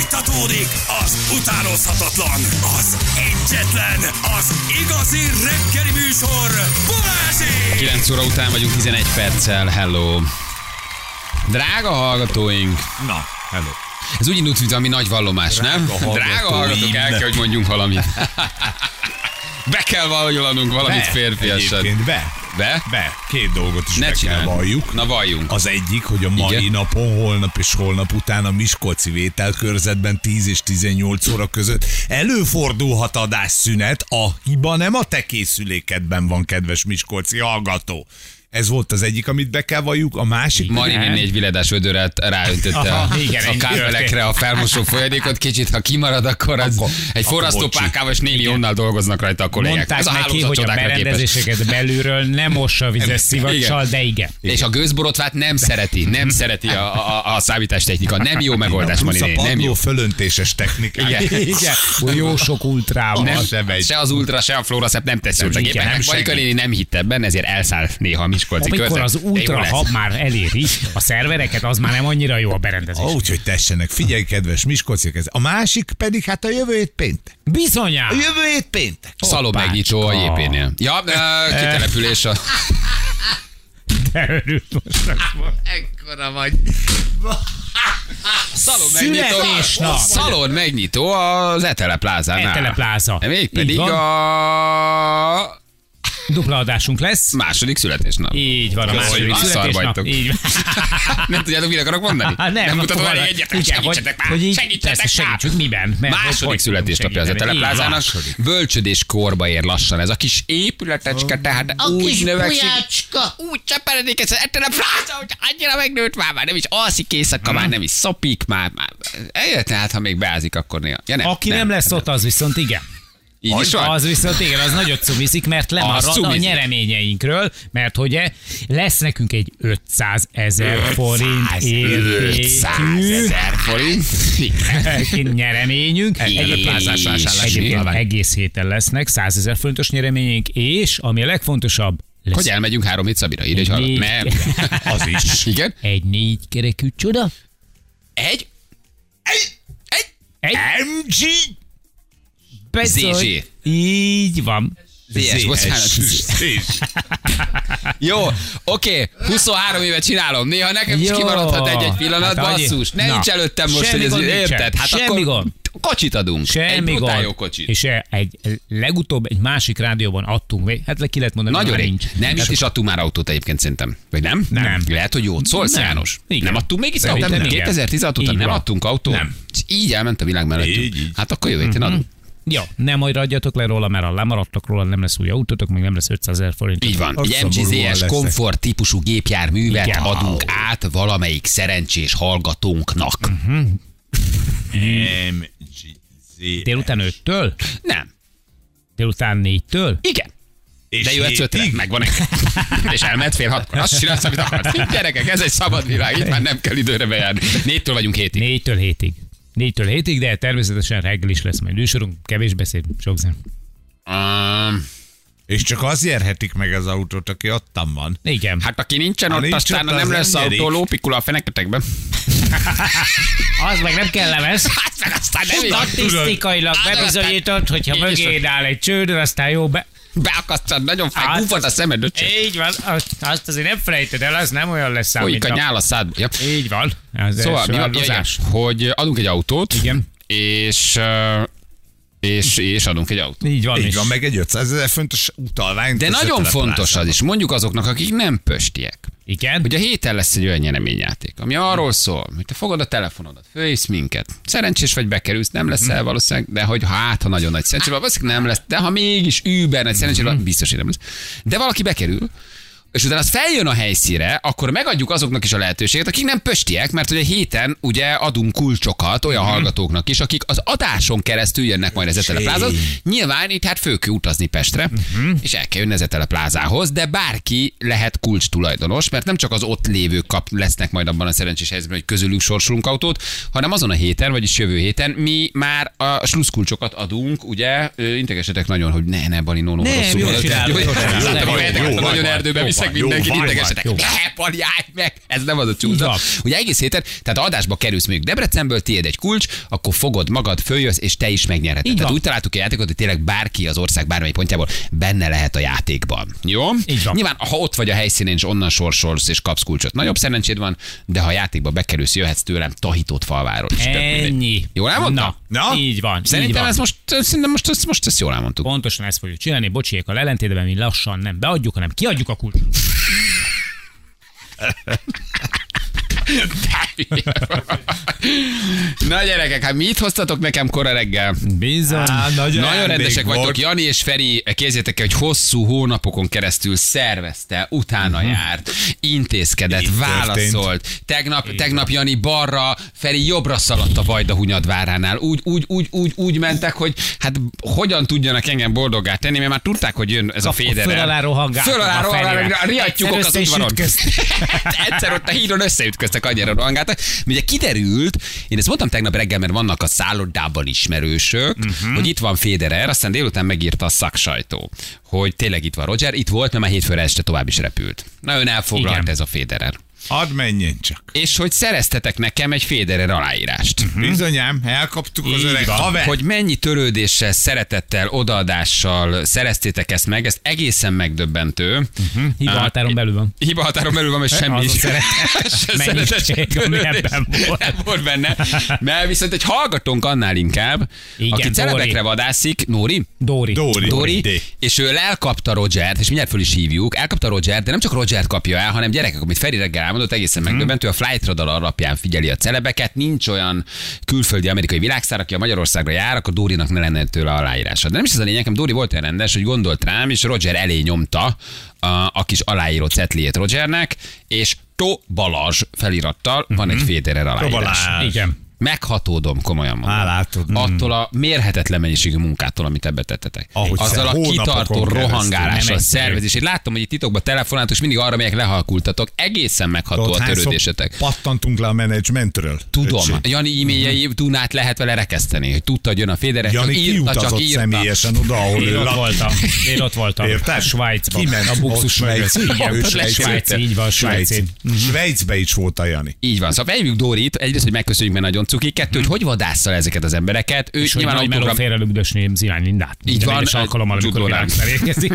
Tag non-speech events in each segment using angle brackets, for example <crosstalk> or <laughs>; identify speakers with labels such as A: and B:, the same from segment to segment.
A: Folytatódik az utánozhatatlan, az egyetlen, az igazi reggeli műsor, Balázsi!
B: 9 óra után vagyunk 11 perccel, hello! Drága hallgatóink!
C: Na, hello.
B: Ez úgy indult, mint ami nagy vallomás, nem?
C: Drága
B: Drága hallgatók,
C: hallgatóim.
B: el kell, hogy mondjunk valamit. Be kell vallanunk valamit férfiasan.
C: Egyébként be.
B: Be?
C: Be. Két dolgot is
B: Ne
C: be kell
B: csináld.
C: valljuk.
B: Na valljunk.
C: Az egyik, hogy a mai
B: Igen.
C: napon, holnap és holnap után a Miskolci vételkörzetben 10 és 18 óra között előfordulhat adásszünet. A hiba nem a te készülékedben van, kedves Miskolci hallgató. Ez volt az egyik, amit be kell valljuk, a másik...
B: Mari néni egy viledás vödörrel ráöntötte a,
C: Aha, igen,
B: a
C: egy
B: kábelekre
C: történt.
B: a felmosó folyadékot. Kicsit, ha kimarad, akkor az
C: Akkor- akkor
B: egy forrasztópákával és néli onnal dolgoznak rajta a kollégák.
D: Mondták
B: Ez a
D: neki,
B: hálózat
D: hogy a
B: csodákra képes.
D: berendezéseket belülről nem mossa a vizes szivacsal, de igen.
B: És a gőzborotvát nem szereti,
D: <laughs>
B: nem szereti a, a, a számítástechnika.
D: Hát
B: Nem jó megoldás, Mari
C: Plusz a
B: néni, nem jó.
C: padló fölöntéses technikát.
B: Igen.
D: Igen, jó sok ultrával.
B: Nem,
C: se megy.
B: se az ultra, se a flóra szep nem tesz jót a
D: igen, nem
B: gépeknek. Marika
D: segít.
B: hát néni nem hitt ebben, ezért elszáll néha a Miskolci
D: Amikor
B: körzet.
D: az
B: De jó
D: ultra
B: lesz.
D: hab már eléri a szervereket, az már nem annyira jó a
C: <laughs>
D: berendezés.
C: Ó, Úgyhogy tessenek, figyelj, kedves Miskolciak, ez. A másik pedig hát a jövő hét péntek.
D: Bizonyá!
C: A jövő hét péntek.
B: Szalom
D: Hoppácska.
B: megnyitó a jépénél. Ja, ö, kitelepülés a...
D: De örült most.
B: <laughs> Ekkora vagy. <laughs> Szalon megnyitó,
D: Születésnap.
B: szalon megnyitó az Etele plázánál.
D: Etele Plaza.
B: Mégpedig
D: Így van.
B: a
D: Dupla adásunk lesz.
B: második születésnap.
D: Így van, a
B: Jó,
D: második
B: hogy
D: születésnap.
B: szarvajtok.
D: Így van.
B: <laughs> Nem tudjátok, mit akarok mondani?
D: Hát
B: nem
D: nem, akkor
B: mutatom elé
D: valahogy-
B: egyetlen,
D: ugye,
B: segítsetek már,
D: hogy- hogy így-
B: segítsetek
D: persze,
B: már.
D: segítsük, miben? Mert hogy-
B: Második
D: hogy
B: születésnapja az a
D: segíteni?
B: teleplázának.
D: Így van.
B: Bölcsödés korba ér lassan ez a kis épületecske, tehát a úgy kis növekszik. Úgy cseperedik ez a telepláza, hogy annyira megnőtt már, már nem is alszik éjszaka, már nem is szopik, már, már. Eljött, hát ha még beázik, akkor néha. Ja, nem,
D: Aki nem lesz ott, az viszont igen.
B: Így is van?
D: Az viszont igen, az nagyot cumizik, mert
B: Az
D: lemarad a
B: cumizik.
D: nyereményeinkről, mert hogy e, lesz nekünk egy 500 ezer forint
B: 500
D: értékű
B: ezer forint.
D: <laughs> nyereményünk.
B: Igen,
D: Egyébként-
B: a plázás vásárlás
D: Egyébként
B: nyilván.
D: egész héten lesznek 100 ezer forintos nyereményünk, és ami a legfontosabb, lesz
B: Hogy elmegyünk három hét Szabira, írj, hogy hallott.
D: Négy. <laughs>
B: Nem.
C: Az is.
B: Igen.
D: egy négy kerekű csoda.
B: Egy. Egy. Egy.
D: Egy
C: MG
D: bizony.
B: ZG.
D: Így van.
B: Zs, bocsánat.
C: Zs.
B: <laughs> Jó, oké, 23 éve csinálom. Néha nekem is
D: Jó.
B: kimaradhat egy-egy pillanat,
D: Hát, annyi-
B: basszus. Ne
D: Na.
B: nincs előttem most,
D: Semmi
B: hogy
D: gond
B: ez
D: nincsen.
B: érted. Hát
D: Semmi
B: akkor
D: gond.
B: kocsit adunk. egy
D: Semmi
B: brutál
D: gond.
B: jó kocsit.
D: És e- egy legutóbb egy másik rádióban adtunk, még- hát le ki lehet mondani,
B: Nagyon
D: hogy
B: rég.
D: már nincs. Hát
B: Nem, itt is adtunk már autót egyébként szerintem. Vagy nem?
D: Nem.
B: Lehet, hogy jót szólsz,
D: Nem.
B: János.
D: Igen.
B: Nem adtunk még itt
D: Szerintem
B: autót?
D: igen.
B: 2016 után
D: Így
B: nem
D: van.
B: adtunk autót?
D: Nem. Mhm.
B: És Így elment a világ mellett.
C: Így, így.
B: Hát akkor jövő héten adunk.
D: Jó, nem majd adjatok le róla, mert ha lemaradtak róla, nem lesz új autótok, meg nem lesz 500 ezer forint.
B: Így van, egy
C: szomorúan
B: MGZS
C: leszek.
B: komfort típusú gépjárművet
D: Igen.
B: adunk át valamelyik szerencsés hallgatónknak.
D: Mhm.
C: MGZ.
D: Délután 5-től?
B: Nem.
D: Délután 4-től?
B: Igen.
C: És
B: De jó,
C: hétig?
B: egyszer megvan
D: <laughs>
B: egy. És elment fél hatkor. Azt csinálsz, amit akarsz. Gyerekek, ez egy szabad világ, itt már nem kell időre bejárni. Négytől vagyunk hétig.
D: 4-től 7-ig. 4-től 7-ig, de természetesen reggel is lesz majd műsorunk, kevés beszéd, sok zen.
B: Um,
C: És csak az nyerhetik meg az autót, aki ottan van.
D: Igen, hát
B: hát aki nincsen
C: Ha
B: ott,
C: nincs
B: aztán
C: ott, az
B: nem lesz
C: nem nyerik.
B: autó, lópikul a feneketekben.
D: az meg nem kellemes.
B: Hát meg aztán nem is.
D: Statisztikailag
B: Tudod.
D: bebizonyított, hogyha
B: Így is
D: mögéd áll egy csődör, aztán jó be...
B: Beakasztad, nagyon fáj,
D: Hát,
B: gúfod a szemed, öcsém.
D: Így van, azt- azt azért nem felejted el, az nem olyan lesz
B: Folyik
D: mint
B: a
D: a-
B: nyál a szádba. Ja.
D: Így van. Az
B: Szóval,
D: első
B: mi van? Ja, igen,
D: változás.
B: hogy adunk egy autót,
D: Igen.
B: és, ö, és, és adunk egy autót.
D: Így van.
C: Így
D: és-
C: van, meg egy 500 ezer fontos utalvány.
B: De
C: köszönet
B: nagyon
C: a
B: fontos
C: plázában.
B: az is, mondjuk azoknak, akik nem pöstiek.
D: Igen.
B: Ugye héten lesz egy olyan nyereményjáték, ami arról szól, hogy te fogod a telefonodat, fölhívsz minket. Szerencsés vagy bekerülsz, nem leszel valószínűleg, de hogy hát, ha nagyon nagy szerencsés, van, valószínűleg nem lesz, de ha mégis Uber nagy szerencsés, van, biztos, hogy nem lesz. De valaki bekerül, és utána az feljön a helyszíre, akkor megadjuk azoknak is a lehetőséget, akik nem pöstiek, mert ugye héten ugye adunk kulcsokat olyan hallgatóknak is, akik az adáson keresztül jönnek majd az eteleplázat. Nyilván itt hát fő kell utazni Pestre, és el kell jönni az eteleplázához, de bárki lehet kulcs tulajdonos, mert nem csak az ott lévők kap, lesznek majd abban a szerencsés helyzetben, hogy közülük sorsolunk autót, hanem azon a héten, vagyis jövő héten mi már a sluszkulcsokat adunk, ugye, Ö, integesetek nagyon, hogy ne, ne, Bali, no, no,
D: Nem,
B: rosszul
D: jól
B: mondod.
D: csinálod,
B: Jó,
D: jól csinálod.
B: Láttam, hogy
D: Nem, jó,
B: mehetek
D: jó,
B: át a
D: jó,
B: nagyon
D: jó,
B: erdőbe
D: jó,
B: leszek
C: van, jó
B: mindenki
C: van,
B: idegesetek.
C: jó van.
B: Ne, paljálj meg! Ez nem az a
D: Így
B: csúszda.
D: van.
B: Ugye egész héten, tehát adásba kerülsz mondjuk Debrecenből, tiéd egy kulcs, akkor fogod magad, följössz, és te is megnyered.
D: Így
B: Tehát
D: van.
B: úgy találtuk a játékot, hogy tényleg bárki az ország bármely pontjából benne lehet a játékban. Jó?
D: Így van.
B: Nyilván, ha ott vagy a helyszínen, és onnan sorsolsz, és kapsz kulcsot, nagyobb szerencséd van, de ha a játékba bekerülsz, jöhetsz tőlem tahított falváról is. Tök mindegy.
D: Ennyi.
B: Jól elmondta?
D: Na,
C: Na?
D: így van. így
B: Szerintem
D: van.
B: ez most, szerintem most, most, most ezt jól elmondtuk.
D: Pontosan ezt fogjuk csinálni, bocsiékkal ellentétben mi lassan nem beadjuk, hanem kiadjuk a kulcsot.
B: <laughs> Na gyerekek, hát mit hoztatok nekem kora reggel?
D: Bizony.
C: Á, nagyon,
B: Nagyon
C: rendben
B: rendesek
C: volt.
B: vagytok. Jani és Feri, kézzétek el, hogy hosszú hónapokon keresztül szervezte, utána járt, intézkedett,
C: Mhm. Így
B: válaszolt. Tegnap, tegnap Jani balra, Feri jobbra szaladt a Vajda Hunyadváránál. Úgy, úgy, úgy, úgy, úgy mentek, hogy hát hogyan tudjanak engem boldoggá tenni, mert már tudták, hogy jön ez a
D: Kapott
B: féderer.
D: föl alá rohangáltak
B: Föl alá
D: a Ferivel.
B: rohangáltak, riadtyúkok
D: Egyszer
B: az udvaron.
D: összeütköztek.
B: Hát Egyszer ott a hídon összeütköztek, annyira rohangáltak. Ugye kiderült, én ezt mondtam tegnap reggel, mert vannak a szállodában ismerősök,
D: Mhm.
B: uh-huh. hogy itt van Federer, aztán délután megírta a szaksajtó, hogy tényleg itt van Roger, itt volt, mert már hétfőre este tovább is repült. Na ön elfoglalt
D: Igen.
B: ez a Federer.
C: Hadd menjen csak.
B: És hogy szereztetek nekem egy Federer aláírást.
D: Mhm.
B: Uh-huh.
C: Bizonyám, elkaptuk az öreg haver.
B: Hogy mennyi törődéssel, szeretettel, odaadással szereztétek ezt meg, ez egészen megdöbbentő. Uh-huh.
D: Hiba határon belül van.
B: Hiba határon belül van, és semmi.
D: Az a szeret- <laughs>
B: Se
D: mennyiség,
B: szeretet,
D: ami
B: törődés
D: ebben volt.
B: Nem volt benne. Mert viszont egy hallgatónk annál inkább,
D: Igen,
B: aki
D: Dóri.
B: celebekre vadászik, Nóri,
D: Dóri.
C: Dóri.
B: Dori,
C: Dé.
B: és ő elkapta Rogert, és mindjárt föl is hívjuk, elkapta Rogert, de nem csak Rogert kapja el, hanem gyerekek, amit Feri reggel elmondott, egészen
C: Hmm.
B: megdöbbentő, a Flight Radar alapján figyeli a celebeket, nincs olyan külföldi amerikai világszár, aki a Magyarországra jár, akkor Dórinak ne lenne tőle aláírása. De nem is ez a lényeg, nekem Dóri volt olyan rendes, hogy gondolt rám, és Roger elé nyomta a, a kis aláíró cetliét Rogernek, és To Balázs felirattal van egy Federer aláírás.
C: Hmm. Balázs.
D: Igen.
B: Meghatódom, komolyan mondom.
C: Hálátod. Mm.
B: Attól a mérhetetlen mennyiségű munkától, amit ebbe tettetek.
C: Ahogy
B: Azzal a
C: hónapokon
B: kitartó
C: keresztül.
B: rohangálással,
D: Nem egy
B: szervezés. Én láttam, hogy itt titokban telefonáltok, és mindig arra megyek, lehalkultatok. Egészen megható
C: Tudod,
B: a
C: hányszor
B: törődésetek.
C: Pattantunk le a menedzsmentről.
B: Tudom,
C: Öcsém. Mhm.
B: Jani e-mailjei Dunát lehet vele rekeszteni, hogy tudta, hogy jön a Federer, csak
C: Jani
B: írta, csak
C: kiutazott
B: írta.
C: személyesen oda, ahol
D: Én
C: ő
D: ott
C: lak.
D: voltam. Én ott voltam.
C: Érted?
D: Svájcban.
C: Kiment
D: a buxus
C: ott
D: mögött.
C: Svájci.
D: Igen,
C: Ő
D: Svájci.
C: Svájci.
D: Svájci. Így van, Svájci.
C: Mhm. Svájcbe is volt a Jani.
B: Így van. Szóval vegyük Dórit, egyrészt, hogy megköszönjük, mert nagyon cuki, kettő,
C: Mhm.
B: hogy hogy vadásszal ezeket az embereket. Ő
D: És hogy
B: nyilván
D: nagy meló
B: autogram,
D: félre lögdösni Zivány Lindát. Minden
B: van,
D: egyes
B: eh,
D: alkalommal, amikor
B: Jude Law.
D: világszer érkezik.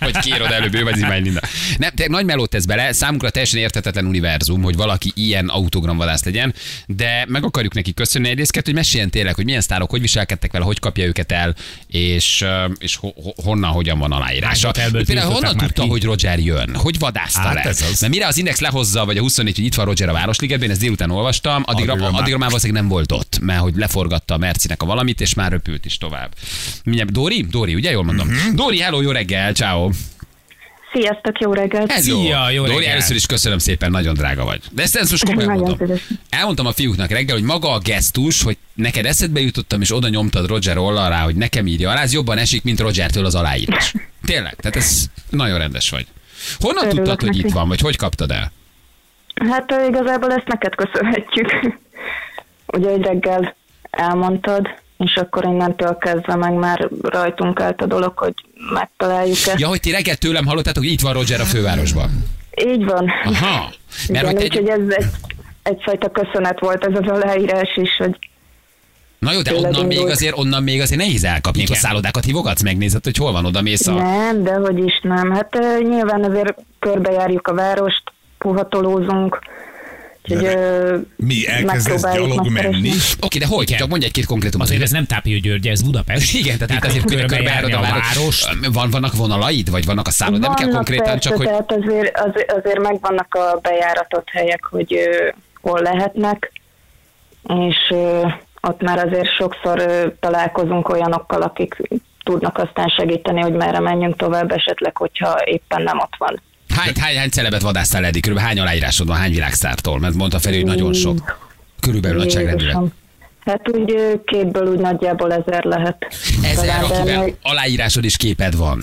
B: hogy kérod előbb, ő vagy Ivány Linda. Nem, te nagy melót tesz bele, számunkra teljesen értetetlen univerzum, hogy valaki ilyen autogramvadász legyen, de meg akarjuk neki köszönni egyrészt, kettő, hogy meséljen tényleg, hogy milyen sztárok, hogy viselkedtek vele, hogy kapja őket el, és, ö, és ho- ho- honnan, hogyan van aláírása.
D: Hány hotelből
B: Például honnan
D: tiltották már
B: tudta,
D: ki?
B: hogy Roger jön? Hogy vadászta
C: Hát
B: le?
C: ez az.
B: Mert mire az Index lehozza, vagy a 24, hogy itt van Roger a Városligetben, én ezt délután olvastam, addigra,
C: Addigra
B: addigra,
C: már-
B: már valószínűleg nem volt ott, mert hogy leforgatta a Mercinek a valamit, és már röpült is tovább. Mindjárt, Dori? Dori, ugye jól mondom?
C: Mhm.
B: Uh-huh. Dori, hello, jó reggel, ciao.
E: Sziasztok, jó reggelt!
D: Szia, jó
B: Dori,
D: reggel.
B: először is köszönöm szépen, nagyon drága vagy. De ezt, ezt most komolyan
E: Nagyon
B: mondom.
E: szívesen.
B: Elmondtam a fiúknak reggel, hogy maga a gesztus, hogy neked eszedbe jutottam, és oda nyomtad Roger Olla rá, hogy nekem írja alá, ez jobban esik, mint Rogertől az aláírás. Tényleg, tehát ez nagyon rendes vagy. Honnan
E: Örülök
B: tudtad, hogy
E: neki.
B: itt van, vagy hogy kaptad el?
E: Hát ö, igazából ezt neked köszönhetjük. <laughs> Ugye egy reggel elmondtad, és akkor innentől kezdve meg már rajtunk állt a dolog, hogy megtaláljuk ezt.
B: Ja, hogy ti reggel tőlem hallottátok, hogy itt van Roger a fővárosban.
E: Így van.
B: Aha. Mert
E: Mert
B: hogy
E: Igen,
B: te egy...
E: úgyhogy ez egy, egyfajta köszönet volt ez az aláírás is, hogy
B: Na jó, de
E: tényleg
B: onnan még,
E: indult.
B: azért, onnan még azért nehéz elkapni, Igen. a szállodákat hívogatsz, megnézed, hogy hol van, oda mész a...
E: nem, de hogy is nem. Hát ö, nyilván azért körbejárjuk a várost, puhatolózunk, úgyhogy ö,
C: Mi elkezdesz
E: megpróbáljuk
C: gyalog
E: megkeresni.
C: menni?
B: Oké, de hol?
D: Igen.
B: Csak mondj egy-két konkrétumot.
D: Azért ez nem Tápió György, ez
B: <laughs>
D: Budapest.
B: Igen, tehát itt azért
D: hogy
B: körbe- körbejárod a
D: körbejárni
B: város. Van, vannak vonalaid, vagy vannak a szállod? Nem kell
E: Vannak
B: konkrétan,
E: persze,
B: csak hogy...
E: Tehát azért, az, azért megvannak a bejáratott helyek, hogy ö, hol lehetnek, és ö, ott már azért sokszor ö, találkozunk olyanokkal, akik tudnak aztán segíteni, hogy merre menjünk tovább, esetleg, hogyha éppen nem ott van.
B: Hány, hány, hány celebet vadásztál eddig? Körülbelül hány aláírásod van, hány világszártól? Mert mondta Feri, hogy nagyon sok. Körülbelül nagyságrendileg.
E: Jézusom. Hát úgy ö, képből úgy nagyjából ezer lehet.
B: Ezer,
E: Talán, de
B: akivel
E: még,
B: aláírásod és képed van.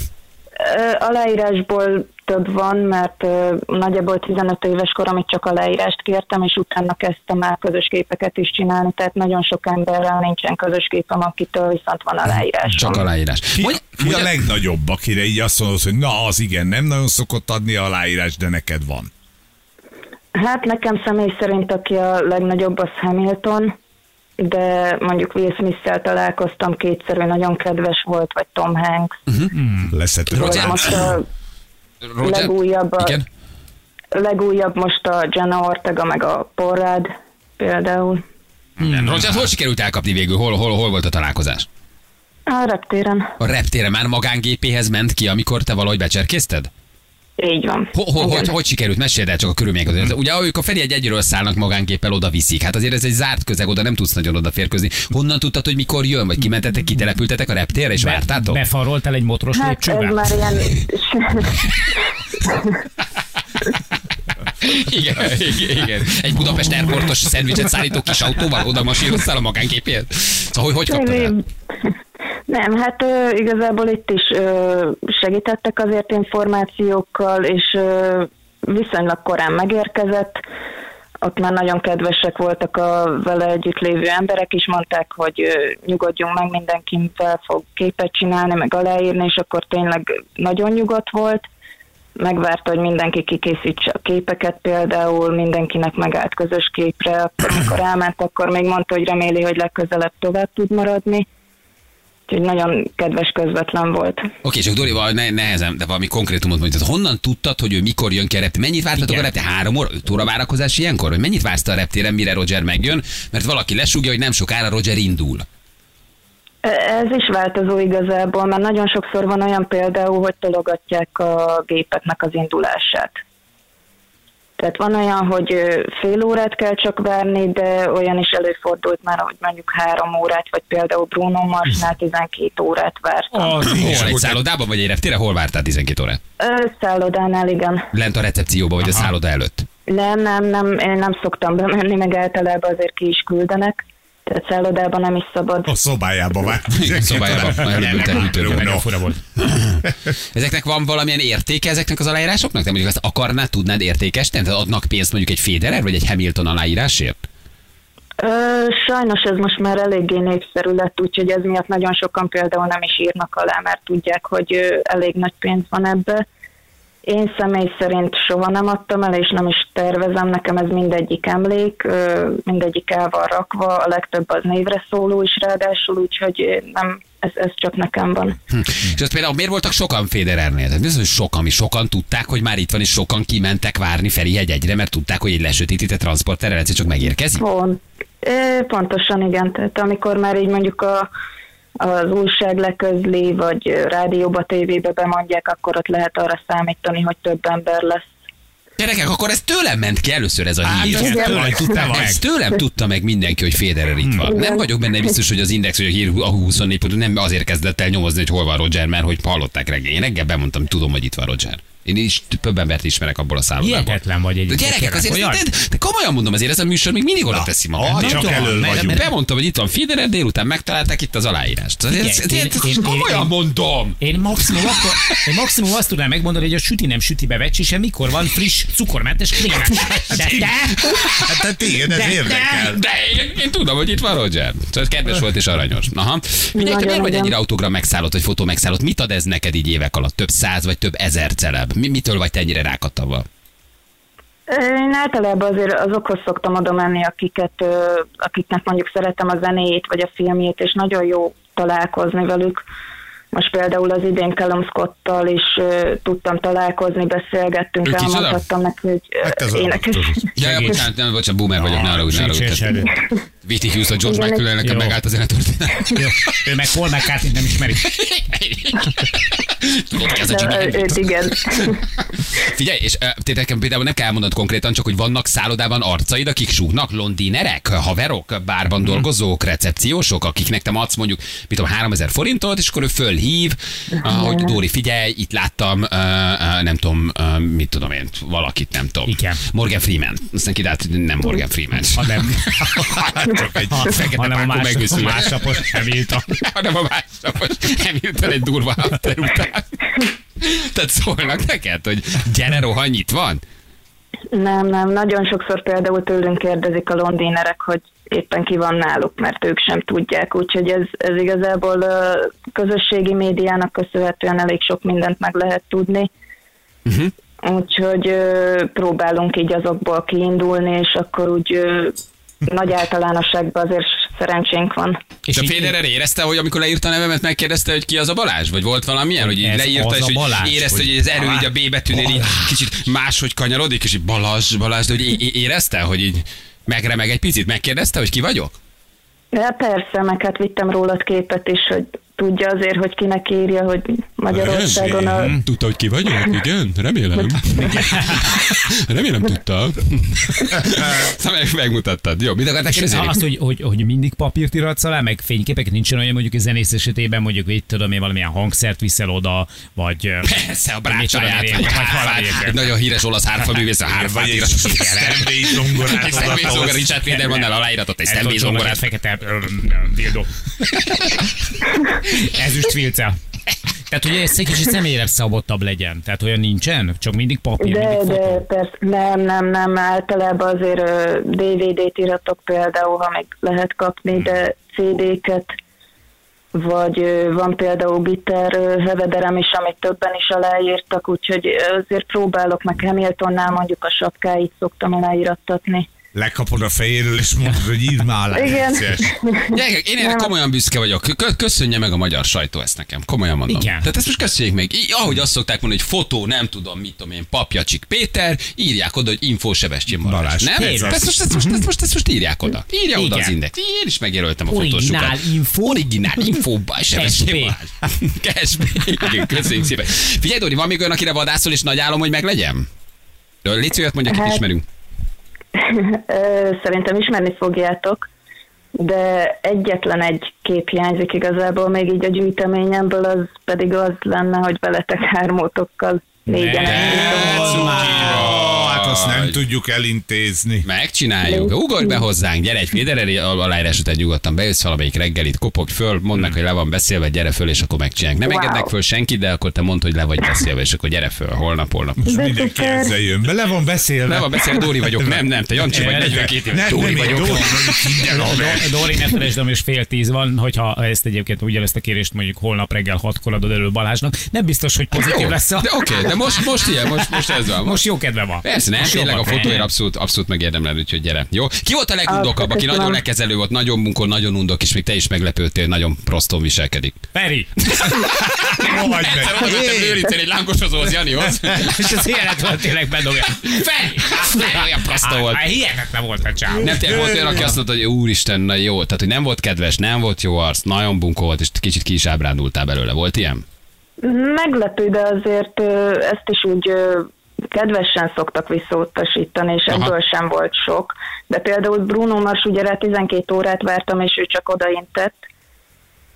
E: ö, Aláírásból több van, mert ö, nagyjából 15 éves koromig csak a leírást kértem, és utána kezdtem el közös képeket is csinálni, tehát nagyon sok emberrel nincsen közös képem, akitől viszont van a leírás.
B: Csak aláírás.
C: Ki,
B: Mondj-
C: ki a
B: mondja-
C: legnagyobb, akire így azt mondod, hogy na az igen, nem nagyon szokott adni aláírás, de neked van.
E: Hát nekem személy szerint, aki a legnagyobb, az Hamilton, de mondjuk Will smith találkoztam kétszer, ő nagyon kedves volt, vagy Tom Hanks.
B: <laughs>
D: Hmm.
C: Leszhető.
E: Vagy most a
B: Roger?
E: legújabb a-
B: Igen?
E: legújabb most a Jenna Ortega, meg a Porrád például.
C: Hmm.
B: Nem, Roger, hol sikerült elkapni végül? Hol, hol, hol volt a találkozás?
E: A reptéren.
B: A reptére már magángépéhez ment ki, amikor te valahogy becserkészted?
E: Így van.
B: Ho, ho,
E: Igen.
B: hogy, hogy sikerült? Meséld el csak a körülményeket. Mm. Ugye ők a Feri egy egyről szállnak magángéppel, oda viszik. Hát azért ez egy zárt közeg, oda nem tudsz nagyon odaférkőzni. Honnan tudtad, hogy mikor jön? Vagy kimentetek, kitelepültetek a reptérre, és vártátok?
D: Befaroltál egy motros
E: Hát ez
D: lépcsővel?
E: már ilyen...
B: <laughs> Igen, igen, igen. Egy Budapest Airportos szendvicset szállító kis autóval oda masíroztál a magánképéhez? Szóval hogy, hogy kaptad el?
E: Nem, hát ö, igazából itt is ö, segítettek azért információkkal, és ö, viszonylag korán megérkezett. Ott már nagyon kedvesek voltak a vele együtt lévő emberek is, mondták, hogy ö, nyugodjunk meg, mindenki fel fog képet csinálni, meg aláírni, és akkor tényleg nagyon nyugodt volt. Megvárta, hogy mindenki kikészítse a képeket például, mindenkinek megállt közös képre, akkor amikor elment, akkor még mondta, hogy reméli, hogy legközelebb tovább tud maradni. Úgyhogy nagyon kedves közvetlen volt.
B: Oké, csak Dorival ne, nehezen, de valami konkrétumot mondj. Tehát honnan tudtad, hogy ő mikor jön ki a reptér? Mennyit vártatok a
D: Igen.
B: reptér? Három óra, öt óra várakozás ilyenkor? Vagy mennyit vársz te a reptéren, mire Roger megjön? Mert valaki lesúgja, hogy nem sokára Roger indul.
E: Ez is változó igazából, mert nagyon sokszor van olyan például, hogy tologatják a gépeknek az indulását. Tehát van olyan, hogy ö, fél órát kell csak várni, de olyan is előfordult már, hogy mondjuk három órát, vagy például Bruno Marsnál 12 órát vártam. Oh.
D: Az
B: Hol? Egy
D: is.
B: szállodában vagy egy reptéren? Hol vártál 12 órát?
E: Szállodánál igen.
B: Lent a recepcióba vagy Aha. a szálloda előtt.
E: Nem, nem, nem, én nem szoktam bemenni, meg általában azért ki is küldenek. Tehát szállodában nem is szabad.
C: A szobájába vág.
B: Igen, szobájába. Elhűltek, hűtőben.
C: Bruno.
D: Nagyon fura volt.
B: Ezeknek van valamilyen értéke ezeknek az aláírásoknak? Te mondjuk ezt akarnád, tudnád értékesíteni? Tehát adnak pénzt mondjuk egy Federer vagy egy Hamilton aláírásért?
E: Ö, sajnos ez most már eléggé népszerű lett, úgyhogy ez miatt nagyon sokan például nem is írnak alá, mert tudják, hogy ö, elég nagy pénz van ebbe. Én személy szerint soha nem adtam el, és nem is tervezem, nekem ez mindegyik emlék, ö, mindegyik el van rakva, a legtöbb az névre szóló is ráadásul, úgyhogy ö, nem, ez, ez csak nekem van.
B: Hm. És azt például miért voltak sokan Federernél? Tehát bizony sokan, mi sokan tudták, hogy már itt van, és sokan kimentek várni Feri hegyegyre, mert tudták, hogy egy lesötétített transporter egyszer csak megérkezik.
E: Pont. Ö, pontosan igen, tehát amikor már így mondjuk a, az újság leközli, vagy ö, rádióba, tévébe bemondják, akkor ott lehet arra számítani, hogy több ember lesz.
B: Gyerekek, akkor ez tőlem ment ki először ez a
C: Hát,
B: hír.
C: ez
E: Igen.
C: tőlem tudtam meg.
B: Ez tőlem tudta meg mindenki, hogy Federer itt van. Nem vagyok benne biztos, hogy az Index vagy a Hír a 24 pont nem azért kezdett el nyomozni, hogy hol van Roger, mert hogy hallották reggel. Én reggel bemondtam, tudom, hogy itt van Roger. Én is több embert ismerek abból a szállodából.
D: Hihetetlen vagy
B: De
D: egy.
B: gyerekek, azért de, de komolyan mondom, azért ez a műsor még mindig oda teszi magát.
C: ah, csak
B: Nagyon.
C: elől
B: Mert-
C: vagyunk.
B: mert Bemondtam, hogy itt van Federer, délután megtalálták itt az aláírást. Azért
D: Figyelj,
B: ezt-
D: én-
B: ezt-
D: én-
B: ezt
D: én-
B: Komolyan
D: én-
B: mondom.
D: Én maximum, akkor, én maximum azt tudnám megmondani, hogy a süti nem sütibe vecsise, mikor van friss, cukormentes krémás. De te,
C: Hát tehát igen, ez
D: De-
C: érdekel.
B: De én, én tudom, hogy itt van Roger. Szóval kedves volt és aranyos. Aha. Figyelj, te
E: Nagyon,
B: miért vagy
E: igen.
B: ennyire autogram megszállott, vagy fotó megszállott? Mit ad ez neked így évek alatt? Több száz vagy több ezer celeb? Mi, mitől vagy te ennyire rákattava?
E: Én általában azért azokhoz szoktam oda menni, akiket, ö, akiknek mondjuk szeretem a zenéjét vagy a filmjét, és nagyon jó találkozni velük. Most például az idén Callum Scott-tal is ö, tudtam találkozni, beszélgettünk,
B: Ő kicsoda?
E: elmondhattam neki, hogy ö,
C: Hát ez a
E: énekes.
B: Ja, ja,
D: Segíts.
B: bocsánat, nem, bocsánat, boomer vagyok, ne haragudj, ne
D: sincs
B: haragudj.
D: is elő.
B: Viti Hughes, a George
E: Igen,
B: McClellan-nek
D: jó.
B: megállt az élettörténet.
D: Jó, ő meg hol meg Kártint nem ismeri.
B: <laughs> Tudod, ki az a Jimi
E: <laughs> De, ö,
B: Hendrix?
E: Őt igen.
B: Figyelj, és ö, te nekem például nem kell elmondanod konkrétan, csak hogy vannak szállodában arcaid, akik súgnak, londinerek, haverok, bárban
D: Mhm.
B: dolgozók, recepciósok, akiknek te adsz mondjuk, mit tudom, 3000 forintot, és akkor ő fölhív, ö, hogy Dóri, figyelj, itt láttam, ö, ö, nem tudom, ö, mit tudom én, valakit, nem tudom.
D: Igen.
B: Morgan Freeman. Aztán kidált, nem Morgan Freeman. Hát,
D: Hanem,
C: Csak egy
D: hanem
B: pákó
D: a más,
B: megőszülve.
D: másnapos Hamilton.
B: hanem a másnapos Hamilton egy durva after után. Tehát szólnak neked, hogy gyere rohanj, itt van?
E: Nem, nem, nagyon sokszor például tőlünk kérdezik a londinerek, hogy éppen ki van náluk, mert ők sem tudják, úgyhogy ez, ez igazából ö, közösségi médiának köszönhetően elég sok mindent meg lehet tudni. Uh-huh. Úgyhogy ö, próbálunk így azokból kiindulni, és akkor úgy ö, nagy általánosságban azért szerencsénk van.
B: És a
D: így-
B: Federer érezte, hogy amikor leírta a nevemet, megkérdezte, hogy ki az a Balázs? Vagy volt valamilyen, hogy így
D: Ez
B: leírta,
D: az
B: és
D: a
B: hogy
D: Balázs,
B: érezte, hogy,
D: hogy
B: ez elő így a B betűnél így
D: Balázs.
B: kicsit máshogy kanyarodik, és így Balázs, Balázs, de hogy é- é- érezte, hogy így megremeg egy picit, megkérdezte, hogy ki vagyok?
E: De persze, meg hát vittem rólad képet is, hogy tudja azért, hogy kinek írja, hogy Magyarországon a...
B: Hm. Tudta, hogy ki vagyok? Igen, <laughs> remélem. remélem tudta. szóval meg- megmutattad. Jó, mit akartál
D: És
B: kérdezni?
D: azt, hogy, hogy, hogy mindig papírt iratsz alá, meg fényképeket nincsen olyan, mondjuk egy zenész esetében, mondjuk itt tudom én valamilyen hangszert viszel oda, vagy... ö,
B: Persze, a
D: mit tudom én,
B: brácsáját, vagy
D: vagy
B: hárfát.
D: hárfát.
B: Egy nagyon híres olasz hárfaművész, a hárfát
C: Vagy egy
B: írásos.
C: személyi zongorát
B: Egy személy
C: odaadta
B: zongorát,
C: hozzá.
B: Richard Federmannel aláíratott egy személy
D: Eltolcsol meg
B: zongorát.
D: egy fekete ö, ö, dildó. Ezüst filce. Tehát, hogy ez egy kicsit személyre szabottabb legyen. Tehát olyan nincsen, csak mindig papír,
E: De,
D: mindig
E: de
D: fotó.
E: persze, nem, nem, nem, általában azért ö, DVD-t iratok például, ha meg lehet kapni, de CD-ket, vagy ö, van például gitár ö, hevederem is, amit többen is aláírtak, úgyhogy azért próbálok meg Hamiltonnál mondjuk a sapkáit szoktam aláírattatni.
C: Lekapod a fejéről, és mondod, hogy írd már alá.
E: Igen.
C: Szíves.
B: <laughs> Gyerekek, én erre komolyan büszke vagyok. Kö- Köszönje meg a magyar sajtó ezt nekem, komolyan mondom.
D: Igen.
B: Tehát ezt most köszönjék meg. Így, ahogy azt szokták mondani, hogy fotó, nem tudom, mit tudom én, papjacsik Péter, írják oda, hogy infósebestjén Balázs.
C: Balázs,
B: Nem?
C: tényleg.
B: Ezt most, ezt, most, ezt, most, ezt most írják oda. Írja oda
D: Igen.
B: az index. Én is megjelöltem a
D: Originál
B: fotósukat.
D: info.
B: Originál info. Sebestjén
D: Cash
B: Balázs. Cash pay. Igen, Köszönjük szépen. Figyelj, Dori, van még olyan, akire vadászol, és nagy álom, hogy meglegyem? Légy szíves, mondja, akit
E: Hát,
B: ismerünk.
E: Ö, Szerintem ismerni fogjátok, de egyetlen egy kép hiányzik igazából, még így a gyűjteményemből, az pedig az lenne, hogy veletek hármótokkal négyen.
B: Ó,
C: Hát azt nem tudjuk elintézni.
B: Megcsináljuk. Ugorj be hozzánk, gyere egy Federer aláírás után nyugodtan bejössz valamelyik reggelit, kopog föl, mondd
C: Mm.
B: meg, hogy le van beszélve, gyere föl, és akkor megcsináljuk. Nem
E: Wow.
B: engednek föl senkit, de akkor te mondd, hogy le vagy beszélve, és akkor gyere föl, holnap, holnap.
C: És
E: De
C: mindenki
E: szuper.
C: ezzel jön be. Le van beszélve.
B: Le van beszélve, Dóri vagyok, nem, nem, te Jancsi vagy, 42 éves,
C: Nem,
B: Dóri
C: nem, én
B: vagyok.
C: Dóri vagyok, minden a
D: Dor-
C: meg.
D: Dori, ne felejtsd, hogy most fél tíz van, hogyha ezt egyébként ugyanezt a kérést mondjuk holnap reggel hatkor adod elő Balázsnak, nem biztos, hogy pozitív
B: Jó,
D: lesz a...
B: de oké, de most, most ilyen, most, most ez van.
D: Most jó kedve van.
B: Persze, nem,
D: Most jó
B: tényleg a
D: van.
B: fotóért abszolút, abszolút megérdemled, úgyhogy gyere. Jó? Ki volt a legundokabb, aki
E: Köszönöm.
B: nagyon lekezelő volt, nagyon munkol, nagyon undok, és még te is meglepődtél, nagyon proston viselkedik.
D: Feri!
C: Jó vagy
B: Egyszer
C: meg.
B: oda mentem lőrincen egy lángosozóhoz, Janihoz.
D: És az élet volt tényleg bedobja. Feri!
B: Feri, olyan prosta volt.
D: Hát, hihetetlen volt a csáv.
B: Nem tényleg volt olyan, aki azt mondta, hogy úristen, na jó. Tehát, hogy nem volt kedves, nem volt jó arc, nagyon bunkó volt, és kicsit ki is ábrándultál belőle. Volt ilyen?
E: Meglepő, de azért ö, ezt is úgy ö, kedvesen szoktak visszautasítani, és
B: Aha.
E: ebből sem volt sok. De például Bruno Mars ugye rá 12 órát vártam, és ő csak odaintett.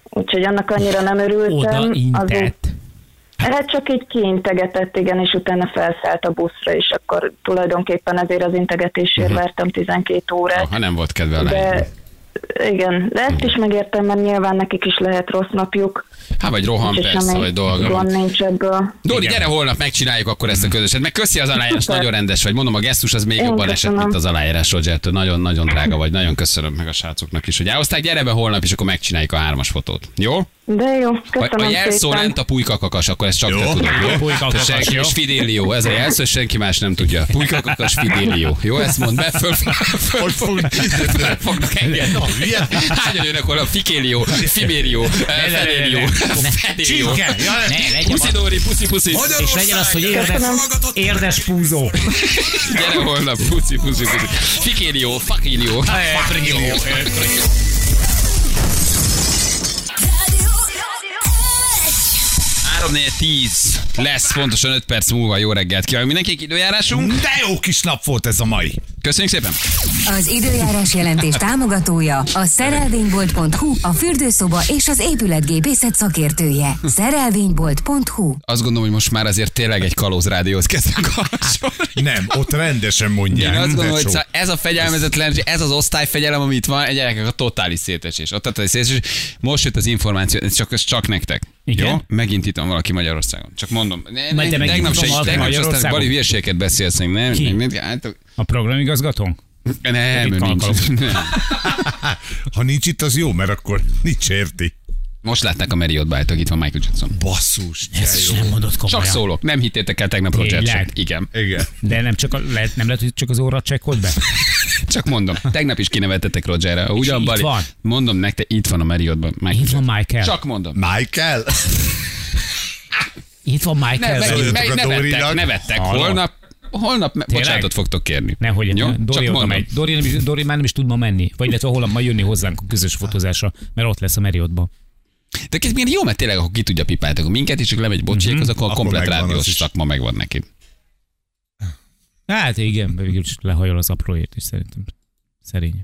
E: Úgyhogy annak annyira nem örültem.
D: Oda
E: Azó-
D: intett.
E: Hát csak így kiintegetett, igen, és utána felszállt a buszra, és akkor tulajdonképpen ezért az integetésért
B: Mhm.
E: vártam 12 órát.
B: Ha nem volt kedve a
E: De
B: lány.
E: igen, de ezt is megértem, mert nyilván nekik is lehet rossz napjuk,
B: Hát vagy rohan,
E: úgyhogy
B: persze,
E: semmi
B: vagy dolga. van.
E: gond nincs ebből.
B: Dori,
D: Igen.
B: gyere holnap, megcsináljuk akkor ezt a közöset. Meg köszi az aláírás,
E: Szuper.
B: nagyon rendes vagy. Mondom, a gesztus az még
E: Én
B: jobban esett,
E: köszönöm.
B: mint az aláírás, Rogertől. Nagyon-nagyon drága vagy, nagyon köszönöm meg a srácoknak is, hogy elhozták. Gyere be holnap, és akkor megcsináljuk a hármas fotót. Jó?
E: De jó,
B: Ha, ha
E: köszönöm
B: jelszó
E: szépen.
B: lent a pulykakakas, akkor ezt csak
C: Jó.
B: te tudod.
D: Jó,
B: Te
D: Pulykakakas,
B: senki,
D: jó?
B: és Fidelio, ez a jelszó, és senki más nem tudja. Pulykakakas Fidelio. Jó, ezt mondd be, föl, föl, föl, föl, föl fognak engedni. Hányan jönnek holnap? Fikélio, Fibério, eh, Fedelio, Fedelio.
C: Csirke. Ja,
D: Ne, legyen
B: Puszi
D: az,
B: Dóri, puszi, puszi.
D: és legyen az, hogy érdes, érdes púzó.
B: Gyere holnap, puszi, puszi, puszi. Fikélio, Fakélio.
D: eh,
B: Fakélio.
F: Radio, Radio X.
B: 3 4 10 lesz pontosan 5 perc múlva. Jó reggelt kívánok mindenkinek időjárásunk.
C: De jó kis nap volt ez a mai.
B: Köszönjük szépen.
G: Az időjárás jelentés támogatója a szerelvénybolt.hu, a fürdőszoba és az épületgépészet szakértője. Szerelvénybolt.hu
B: azt gondolom, hogy most már azért tényleg egy kalóz rádióhoz kezdünk kapcsolni.
C: Nem, ott rendesen
B: Én
C: mondják.
B: azt
C: de
B: gondolom, hogy
C: sok.
B: szá- ez a fegyelmezetlen, ez az osztályfegyelem, ami itt van, egy gyerekek a totális szétesés. A totális szétesés. Most jött az információ, ez csak, ez csak nektek.
D: Igen.
B: Jó? Megint itt van valaki Magyarországon. Csak mondom. Ne,
D: Majd te
B: ne,
D: megint
B: tegnap
D: itt
B: se
D: van
B: is,
D: valaki
B: tegnap se aztán
D: Magyarországon?
B: bali hülyeségeket beszélsz. Nem, nem,
D: Ki?
B: nem, nem, hát-
D: A programigazgatónk?
B: nem,
D: Itt
B: ő nincs.
D: kalkalok.
B: Nem.
C: <laughs> Ha nincs itt, az jó, mert akkor nincs érti.
B: Most látták a Marriott bájtok, itt van Michael Jackson.
C: Basszus, de
D: Ezt is
C: jó.
D: nem mondott komolyan.
B: Csak szólok, nem hittétek el tegnap
D: Tényleg?
B: Roger Igen.
C: Igen.
D: De nem, csak a, lehet, nem lehet, hogy csak az óra csekkolt be?
B: Csak mondom, tegnap is kinevetettek Rogerre. Ugyan
D: itt
B: Bali,
D: van.
B: mondom nektek, itt van a Marriottban. Michael
D: Itt van
B: Jackson.
D: Michael.
B: Csak mondom.
C: Michael?
D: Itt van
B: Ne,
D: Michael.
B: meg,
D: Ne,
C: Zöld.
B: meg,
C: a
B: nevettek,
C: Dórinak.
B: nevettek.
D: Hallod?
B: Holnap, holnap me-
D: Tényleg?
B: bocsánatot fogtok kérni.
D: Nehogy,
B: Jó?
D: ne, Dori,
B: Csak
D: oda
B: mondom.
D: megy. Dori, nem is, Dori már nem is tud ma menni. Vagy lehet, holnap majd jönni hozzánk a közös fotózásra, mert ott lesz a Marriottban.
B: De ez milyen jó, mert tényleg, akkor ki tudja pipálni, akkor minket is, csak lemegy bocsiékhoz, akkor a
C: Mhm. Akkor
B: komplet
C: megvan az
B: rádiós
C: is.
B: szakma megvan neki.
D: Hát igen, végül is lehajol az apróért is szerintem. Szerény.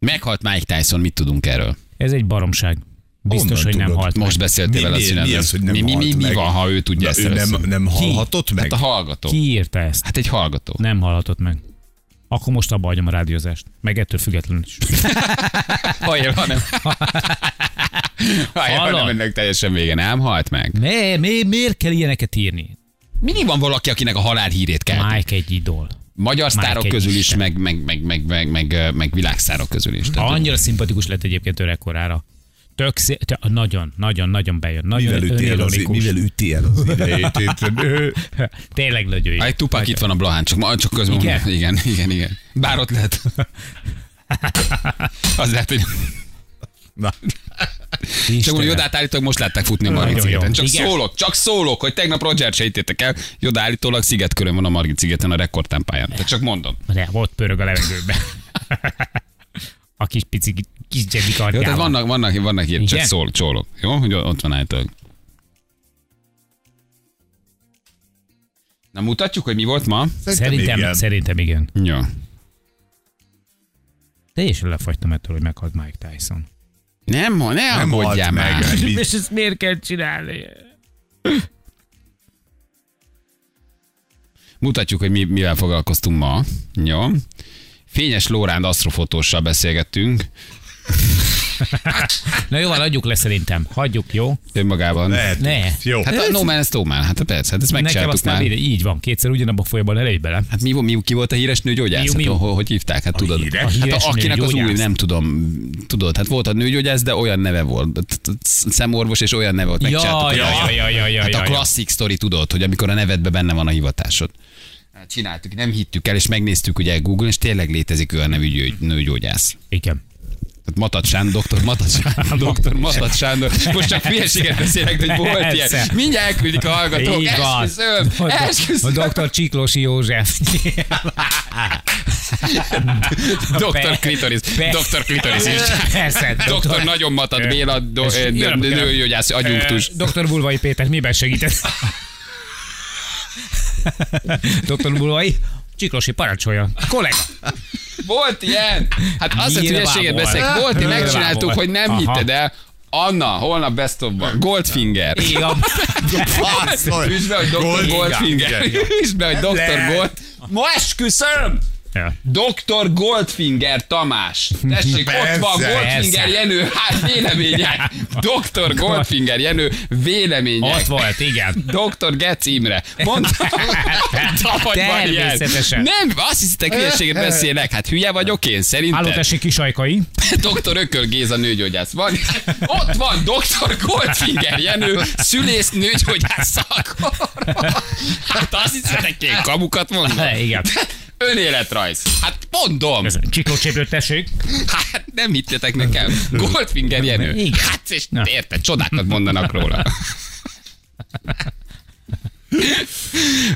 B: Meghalt Mike Tyson, mit tudunk erről?
D: Ez egy baromság. Biztos,
C: Honnan
D: hogy nem
C: tudod?
D: halt meg.
B: Most beszéltél
C: Mi-
B: vele a
C: mi- mi
B: szünetben.
C: az, hogy nem
B: mi, mi, mi,
C: halt
B: mi
C: meg?
B: van, ha ő tudja
C: De
B: ezt
C: ő
B: először?
C: nem, nem hallhatott meg?
B: Hát a hallgató.
D: Ki írta ezt?
B: Hát egy hallgató.
D: Nem hallhatott meg. Akkor most abba hagyom a rádiózást. Meg ettől függetlenül
C: <laughs>
D: is.
B: Hajjel, ha nem. Hajjel, ha nem
D: Hallod?
B: ennek teljesen vége. Nem halt meg.
D: Mi, mi, miért kell ilyeneket írni?
B: Mindig van valaki, akinek a halál hírét kell.
D: Mike egy idol.
B: Magyar
D: Mike
B: sztárok
D: egy
B: közül is,
D: Isten.
B: meg, meg, meg, meg, meg, meg, meg világsztárok közül is. Tehát,
D: Annyira szimpatikus lett egyébként öregkorára. Tök szé- te, nagyon, nagyon, nagyon bejön. Nagyon
C: Mivel üti el az,
D: önironikus.
C: mivel üti el az idejét?
B: <laughs>
C: itt? Ő-
D: <laughs> Tényleg
B: ha
D: lögyői.
B: egy tupák itt van a Blahán, csak, ma- csak közben
D: Igen?
B: igen? igen, igen, igen. Bár ott lehet. Az lehet, hogy
C: Na,
B: csak úgy Jodát állítólag most látták futni a Margit
D: Nagyon jó.
B: szigeten. Csak
D: Igen.
B: szólok, csak szólok, hogy tegnap Roger se hittétek el. Joda állítólag szigetkörön van a Margit szigeten a rekordtámpáján. Tehát csak mondom.
D: De ott pörög a levegőben.
C: <laughs>
D: a kis pici kis Jedi
B: Jó,
D: kardjával.
B: tehát vannak, vannak, vannak ilyen, csak
D: Igen?
B: szól, csólok. Jó, hogy ott van állítólag. Na mutatjuk, hogy mi volt ma?
D: Szerintem,
C: igen.
D: igen. szerintem igen.
B: Jó.
D: Teljesen lefagytam ettől, hogy meghalt Mike Tyson.
B: Nem, ne
C: nem
B: aggódjál
C: halt
B: már.
C: meg. Mi-
D: <laughs> És ezt miért kell csinálni?
B: Mutatjuk, hogy mi, mivel foglalkoztunk ma. Jó. Fényes Lóránd asztrofotóssal beszélgettünk
D: Na jó, van, adjuk le szerintem. Hagyjuk, jó?
B: önmagában.
C: Lehet.
D: Ne.
C: Jó.
B: Hát a No Man's No Man, hát persze, hát ezt
D: Nekem
B: megcsináltuk
D: aztán
B: már.
D: ide, így van, kétszer ugyanabban a folyamban elejt bele.
B: Hát mi, mi, ki volt a híres nőgyógyász?
D: Mi-
B: Hát,
D: mi-
B: ho- hogy hívták? Hát tudod.
C: híres?
D: A
B: hát
D: híres
B: a, akinek az új,
D: nőgyógyász.
B: nem tudom, tudod, hát volt a nőgyógyász, de olyan neve volt, t- t- szemorvos, és olyan neve volt, megcsináltuk.
D: Ja,
B: hogy
D: ja,
B: a-
D: ja, ja, ja,
B: Hát
D: ja,
B: a
D: ja.
B: klasszik sztori tudod, hogy amikor a nevedben benne van a hivatásod. Hát Csináltuk, nem hittük el, és megnéztük ugye Google, és tényleg létezik olyan nevű gyógy- nőgyógyász.
D: Igen.
B: Tehát Matat Sándor, doktor Matat
D: <laughs>
B: Sándor, doktor Matat Sándor. Most csak hülyeséget beszélek, de hogy volt ilyen.
D: Persze.
B: Mindjárt elküldik a hallgatók.
D: Így van.
B: Esküszöm,
D: A do-
B: esküszöm.
D: A doktor Csiklosi József.
B: <laughs> Doktor Klitoris.
D: Pe-
B: Doktor Klitoris is.
D: Persze,
B: Doktor nagyon matad Béla, do-
D: És
B: ö,
D: jön a-
B: nő- nőgyógyász, agyunktus.
D: Eh, Doktor Bulvai Péter, miben segítesz? Doktor Bulvai, Csiklosi parancsolja. Kollega.
B: Volt ilyen. Hát az, hogy
D: Nyilván
B: hülyeséget
D: volt.
B: beszélek. Volt, hogy
D: Nyilván
B: megcsináltuk,
D: volt.
B: hogy nem
D: Aha.
B: hitted el. Anna, holnap best of Goldfinger.
D: Igen.
C: Basszus.
B: Üsd be, hogy Dr.
C: Gold-
B: Goldfinger.
C: Igen.
B: Üsd be, hogy Dr. Gold. Ma esküszöm!
D: Ja.
B: Dr. Goldfinger Tamás. Tessék,
C: Persze,
B: ott van
D: persze.
B: Goldfinger Jenő, hát
D: <laughs>
B: vélemények. Dr. Goldfinger Jenő, vélemények.
D: Ott volt, igen.
B: Dr. Getz Imre. Mondtam,
D: <laughs>
B: hogy van ilyen.
D: Természetesen.
B: Nem, azt hiszitek, hülyeséget beszélek. Hát hülye vagyok én,
D: Háló,
B: <laughs> szerintem.
D: tessék, kisajkai.
B: Dr. Ököl Géza nőgyógyász van. <laughs> Ott van Dr. Goldfinger Jenő, szülész <laughs> nőgyógyász szakor. Hát azt hiszitek, én kamukat mondom.
D: <laughs> Igen.
B: Önéletrajz. Hát mondom.
D: Csiklócséplő, tessék.
B: Hát nem hittetek nekem. Goldfinger Jenő.
D: Igen.
B: Hát és érted, csodákat mondanak róla.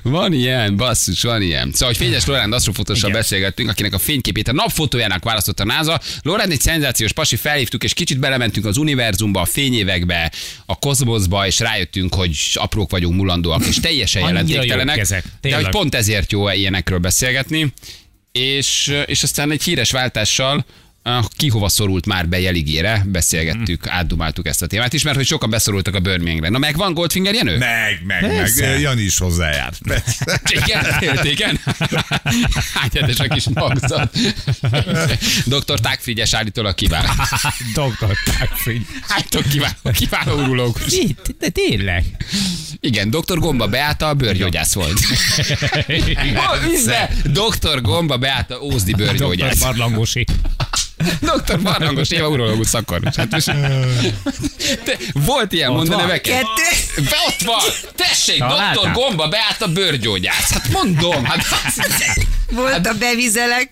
B: Van ilyen, basszus, van ilyen. Szóval, hogy Fényes Loránd asztrofotóssal
D: Igen.
B: beszélgettünk, akinek a fényképét a napfotójának választotta a NASA. Loránd egy szenzációs pasi, felhívtuk, és kicsit belementünk az univerzumba, a fényévekbe, a kozmoszba, és rájöttünk, hogy aprók vagyunk, mulandóak, és teljesen
D: Annyira jók
B: jelentéktelenek.
D: ezek,
B: De
D: tényleg.
B: hogy pont ezért jó ilyenekről beszélgetni és, és aztán egy híres váltással ah, ki hova szorult már be jeligére, beszélgettük, átdumáltuk ezt a témát is, mert hogy sokan beszorultak a Birminghamre. Na megvan Goldfinger Jenő?
C: Meg, meg,
D: Persze.
C: meg. Jani is hozzájárt. Persze.
B: <laughs> Igen, élt,
C: <laughs>
B: igen. <laughs> Hányetes a kis <laughs> magzat. Dr. Tágfrigyes állítólag <laughs> kiváló. Hát,
D: Doktor Tágfrigy.
B: Állítólag Hát, kiváló, kiváló urológus.
D: Mit? De tényleg?
B: Igen, Dr. Gomba Beáta a bőrgyógyász volt. <laughs> Ah, Üzze! Dr. Gomba Beáta Ózdi
D: Doktor
B: bőrgyógyász.
D: Barlangosi.
B: Dr. Barlangos Éva urológus szakorvos. Hát most... Te, volt ilyen mondani neveket? Kettő. Be ott van. Tessék,
D: Na,
B: Dr.
D: látnám.
B: Gomba Beáta bőrgyógyász. Hát mondom. Hát
H: Volt a bevizelek.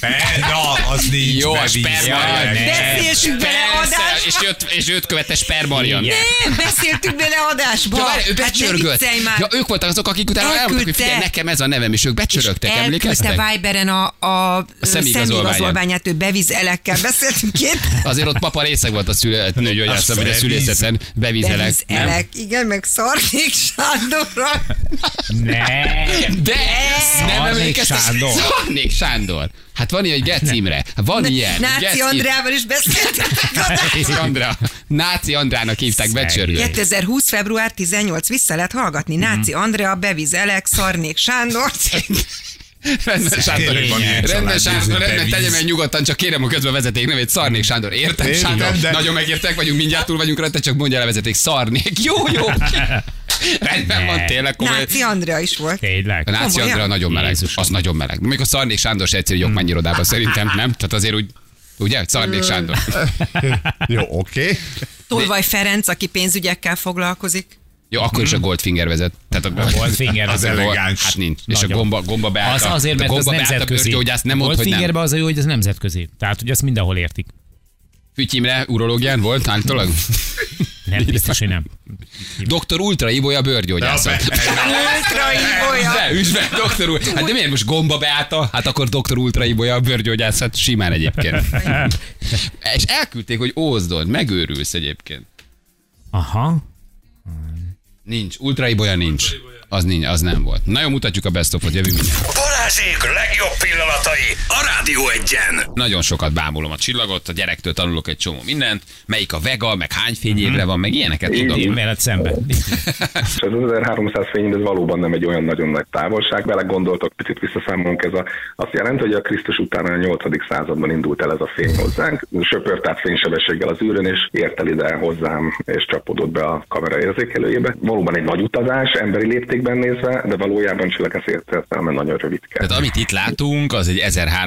C: Persze, Na, az nincs
B: Jó, a
C: bevízve.
B: sperma.
D: ne.
H: Beszéltünk bele
B: Persze,
H: adásban.
B: és, jött, és őt követte Spermarian.
D: Igen.
H: Nem, beszéltünk bele adásban.
B: Ja, várj, ő becsörgött.
H: hát viccelj már.
B: ja, ők voltak azok, akik utána
H: Elküldte.
B: elmondták, hogy figyelj, nekem ez a nevem, és ők becsörögtek,
H: Elküldte
B: emlékeztek?
H: Viberen a, a, a
B: szemigazolványát.
H: szemigazolványát, ő bevizelekkel beszéltünk két
B: Azért ott papa részeg volt a szülő, nőgyógyász, amire
C: bevíz.
B: szülészeten bevizelek. nem?
H: bevizelek. Igen, meg Szarnék Sándorra.
D: Ne.
B: De nem
D: Szarnék
B: emlékeztek.
D: Sándor.
B: Szarnék Sándor. Hát van ilyen, hogy Gecimre. Van ilyen.
H: Náci
B: Geci-
H: Andrával is beszéltünk
B: <laughs>
H: adásban.
B: Náci Andrá. Náci Andrának hívták
D: Szegény.
B: becsörgő.
H: 2020. február 18 vissza lehet hallgatni. Náci Andrea, bevizelek, Szarnék Sándor.
B: Rendben Sándor,
C: Tényleg van ilyen család,
B: rendben Sándor,
C: nézzük,
B: rendben,
C: bevíz.
B: tegyem el nyugodtan, csak kérem a közben vezeték nevét, Szarnék Sándor, értem
C: Értem,
B: Sándor,
C: de-
B: nagyon megértek vagyunk, mindjárt túl vagyunk rajta, csak mondja el a vezeték, Szarnék, jó,
C: <laughs>
B: jó, rendben van, tényleg komoly.
H: Náci Andrea is volt.
B: A
D: Tényleg.
B: Náci
H: Komolyan?
B: Andrea nagyon meleg,
D: Jézusom.
B: az nagyon meleg. Még a Szarnék Sándor se egyszerű jogmányirodában szerintem, nem? Tehát azért úgy, ugye, hogy Szarnék
H: Mm.
B: Sándor.
C: Jó, oké.
H: Tolvaj Ferenc, aki pénzügyekkel foglalkozik.
B: Jó, akkor is a Goldfinger vezet. Tehát a,
D: Mhm. Goldfinger
C: az
B: a gol-
C: elegáns.
B: Hát nincs. És a
D: Nagyon.
B: gomba, gomba beállt.
D: Az azért, mert
B: hát, a
D: az
B: gomba beállt a
D: nemzetközi.
B: bőrgyógyász, nem mond, hogy nem.
D: Goldfingerben az a jó, hogy ez nemzetközi. Tehát, hogy ezt mindenhol értik.
B: Fütyimre, urológián volt
D: <laughs>
B: állítólag.
D: Nem, biztos, hogy nem.
B: Doktor Ultra Ibolya bőrgyógyászat. <laughs>
H: Ultra Ibolya.
B: De, üzve, doktor Ultra. Hát de miért most gomba beállta? Hát akkor doktor Ultra Ibolya a bőrgyógyászat simán egyébként. És elküldték, hogy ózdod, megőrülsz egyébként.
D: Aha.
B: Nincs, Ultra Ibolya nincs. Az, nincs, az nem volt. Na jó, mutatjuk a best of-ot, jövünk mindjárt.
A: Balázsék legjobb pillanatai a Rádió Egyen.
B: Nagyon sokat bámulom a csillagot, a gyerektől tanulok egy csomó mindent, melyik a vega, meg hány fényévre van, meg ilyeneket tudom.
D: Veled szemben.
I: És az 1300 fényév, ez valóban nem egy olyan nagyon nagy távolság. Vele gondoltok, picit visszaszámolunk, ez a, azt jelenti, hogy a Krisztus után a 8. században indult el ez a fény hozzánk. Söpört át fénysebességgel az űrön, és ért el ide hozzám, és csapódott be a kamera érzékelőjébe. Valóban egy nagy utazás, emberi léptékben nézve, de valójában csillagász értelme nagyon rövidke.
B: Tehát amit itt látunk, az egy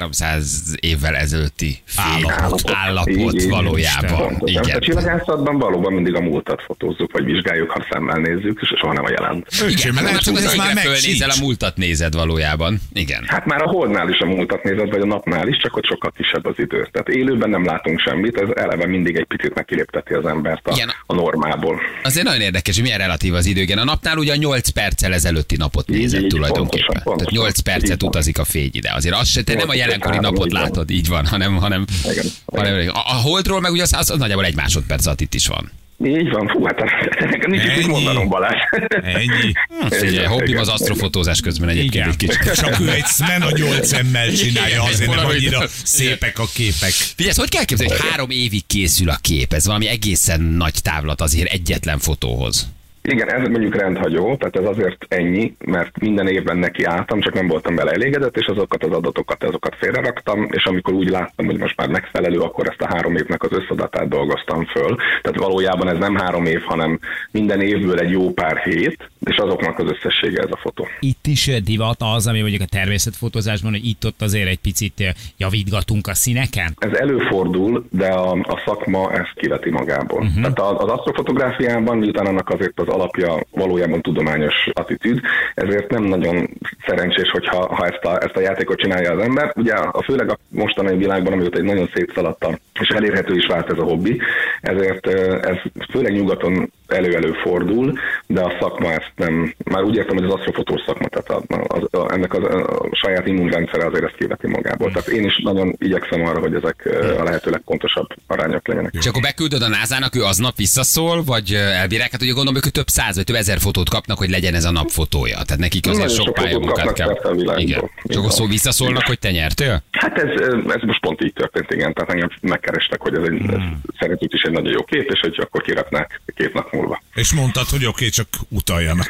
B: 1300 évvel ezelőtti állapot, állapot
I: Így, így,
B: valójában.
I: pontosan. A
B: Igen.
I: csillagászatban valóban mindig a múltat fotózzuk, vagy vizsgáljuk, ha szemmel nézzük, és soha nem a jelent.
B: Igen,
C: Öcsém, nem
B: mert látod,
C: tudom,
B: az
C: ez már
B: égre
C: meg
B: fölnézel, a
C: sincs.
B: múltat nézed valójában. Igen.
I: Hát már a holdnál is a múltat nézed, vagy a napnál is, csak ott sokkal kisebb az idő. Tehát élőben nem látunk semmit, ez eleve mindig egy picit megkilépteti az embert a,
B: Igen.
I: a normából.
B: Azért nagyon érdekes, hogy milyen relatív az idő. Igen, a napnál ugye 8 perccel ezelőtti napot nézett
I: így,
B: tulajdonképpen.
I: pontosan, pontosan.
B: Tehát 8
I: Így
B: percet
I: van.
B: utazik a fény ide. Azért azt se, te nem a
I: Nyolc
B: jelenkori
I: perc,
B: napot
I: így van.
B: látod, így van, hanem, hanem,
I: Igen,
B: hanem a, a holdról meg ugye az, az nagyjából egy másodperc alatt itt is van.
I: Így van, fú, hát nekem nincs mit
C: Ennyi.
I: mondanom, Balázs. <laughs>
C: Ennyi.
B: Ugye,
I: Hm, Igen,
B: hobbim
I: igen,
B: az
I: igen.
B: asztrofotózás közben egyébként
D: Igen.
B: egy kicsit.
C: Csak ő egy szmen a nyolc szemmel csinálja, azért nem annyira szépek a képek.
B: Figyelj, ezt hogy kell képzelni, hogy három évig készül a kép? Ez valami egészen nagy távlat azért egyetlen fotóhoz.
I: Igen, ez mondjuk rendhagyó, tehát ez azért ennyi, mert minden évben neki álltam, csak nem voltam vele elégedett, és azokat az adatokat, azokat félreraktam, és amikor úgy láttam, hogy most már megfelelő, akkor ezt a három évnek az összadatát dolgoztam föl. Tehát valójában ez nem három év, hanem minden évből egy jó pár hét, és azoknak az összessége ez a fotó.
D: Itt is ö, divat az, ami mondjuk a természetfotózásban, hogy itt-ott azért egy picit ö, javítgatunk a színeken.
I: Ez előfordul, de a, a szakma ezt kiveti magából. Uh-huh. Tehát az, az asztrofotográfiában, miután annak azért az alapja valójában tudományos attitűd, ezért nem nagyon szerencsés, hogyha ha ezt, a, ezt a játékot csinálja az ember. Ugye a főleg a mostani világban, amióta egy nagyon szétszaladta, és elérhető is vált ez a hobbi, ezért ö, ez főleg nyugaton elő-elő fordul, de a szakma ezt nem, már úgy értem, hogy az asztrofotós szakma, tehát a, az, a, ennek az, a saját immunrendszere azért ezt kiveti magából. Tehát én is nagyon igyekszem arra, hogy ezek ö, a lehető legpontosabb arányok legyenek.
B: És akkor beküldöd a názának, ő aznap visszaszól, vagy ö, elbírák? Hát ugye gondolom, hogy több száz vagy több ezer fotót kapnak, hogy legyen ez a nap fotója. Tehát nekik
I: Nagyon
B: azért sok
I: sok fotót
B: pályamunkát
I: kapnak
B: kell.
I: persze a világból.
B: Igen. És akkor szó visszaszólnak, hogy te nyertél?
I: Hát ez, ez most pont így történt, igen. Tehát engem megkerestek, hogy ez, egy, ez szerintük is egy nagyon jó kép, és hogy akkor kirepnek két nap múlva.
C: És mondtad, hogy oké, okay, csak utaljanak.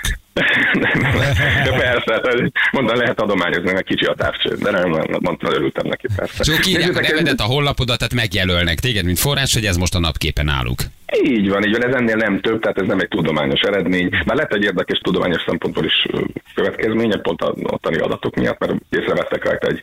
I: Nem, de persze, tehát mondta, lehet adományozni, mert kicsi a távcső, de nem, nem, mondtam, örültem neki, persze.
B: Csak írják a
I: Nézzétek,
B: nevedet, a honlapodat, tehát megjelölnek téged, mint forrás, hogy ez most a napképen náluk.
I: Így van, így van, ez ennél nem több, tehát ez nem egy tudományos eredmény. Már lett egy érdekes tudományos szempontból is ö, következménye, pont a ottani adatok miatt, mert észrevettek rajta egy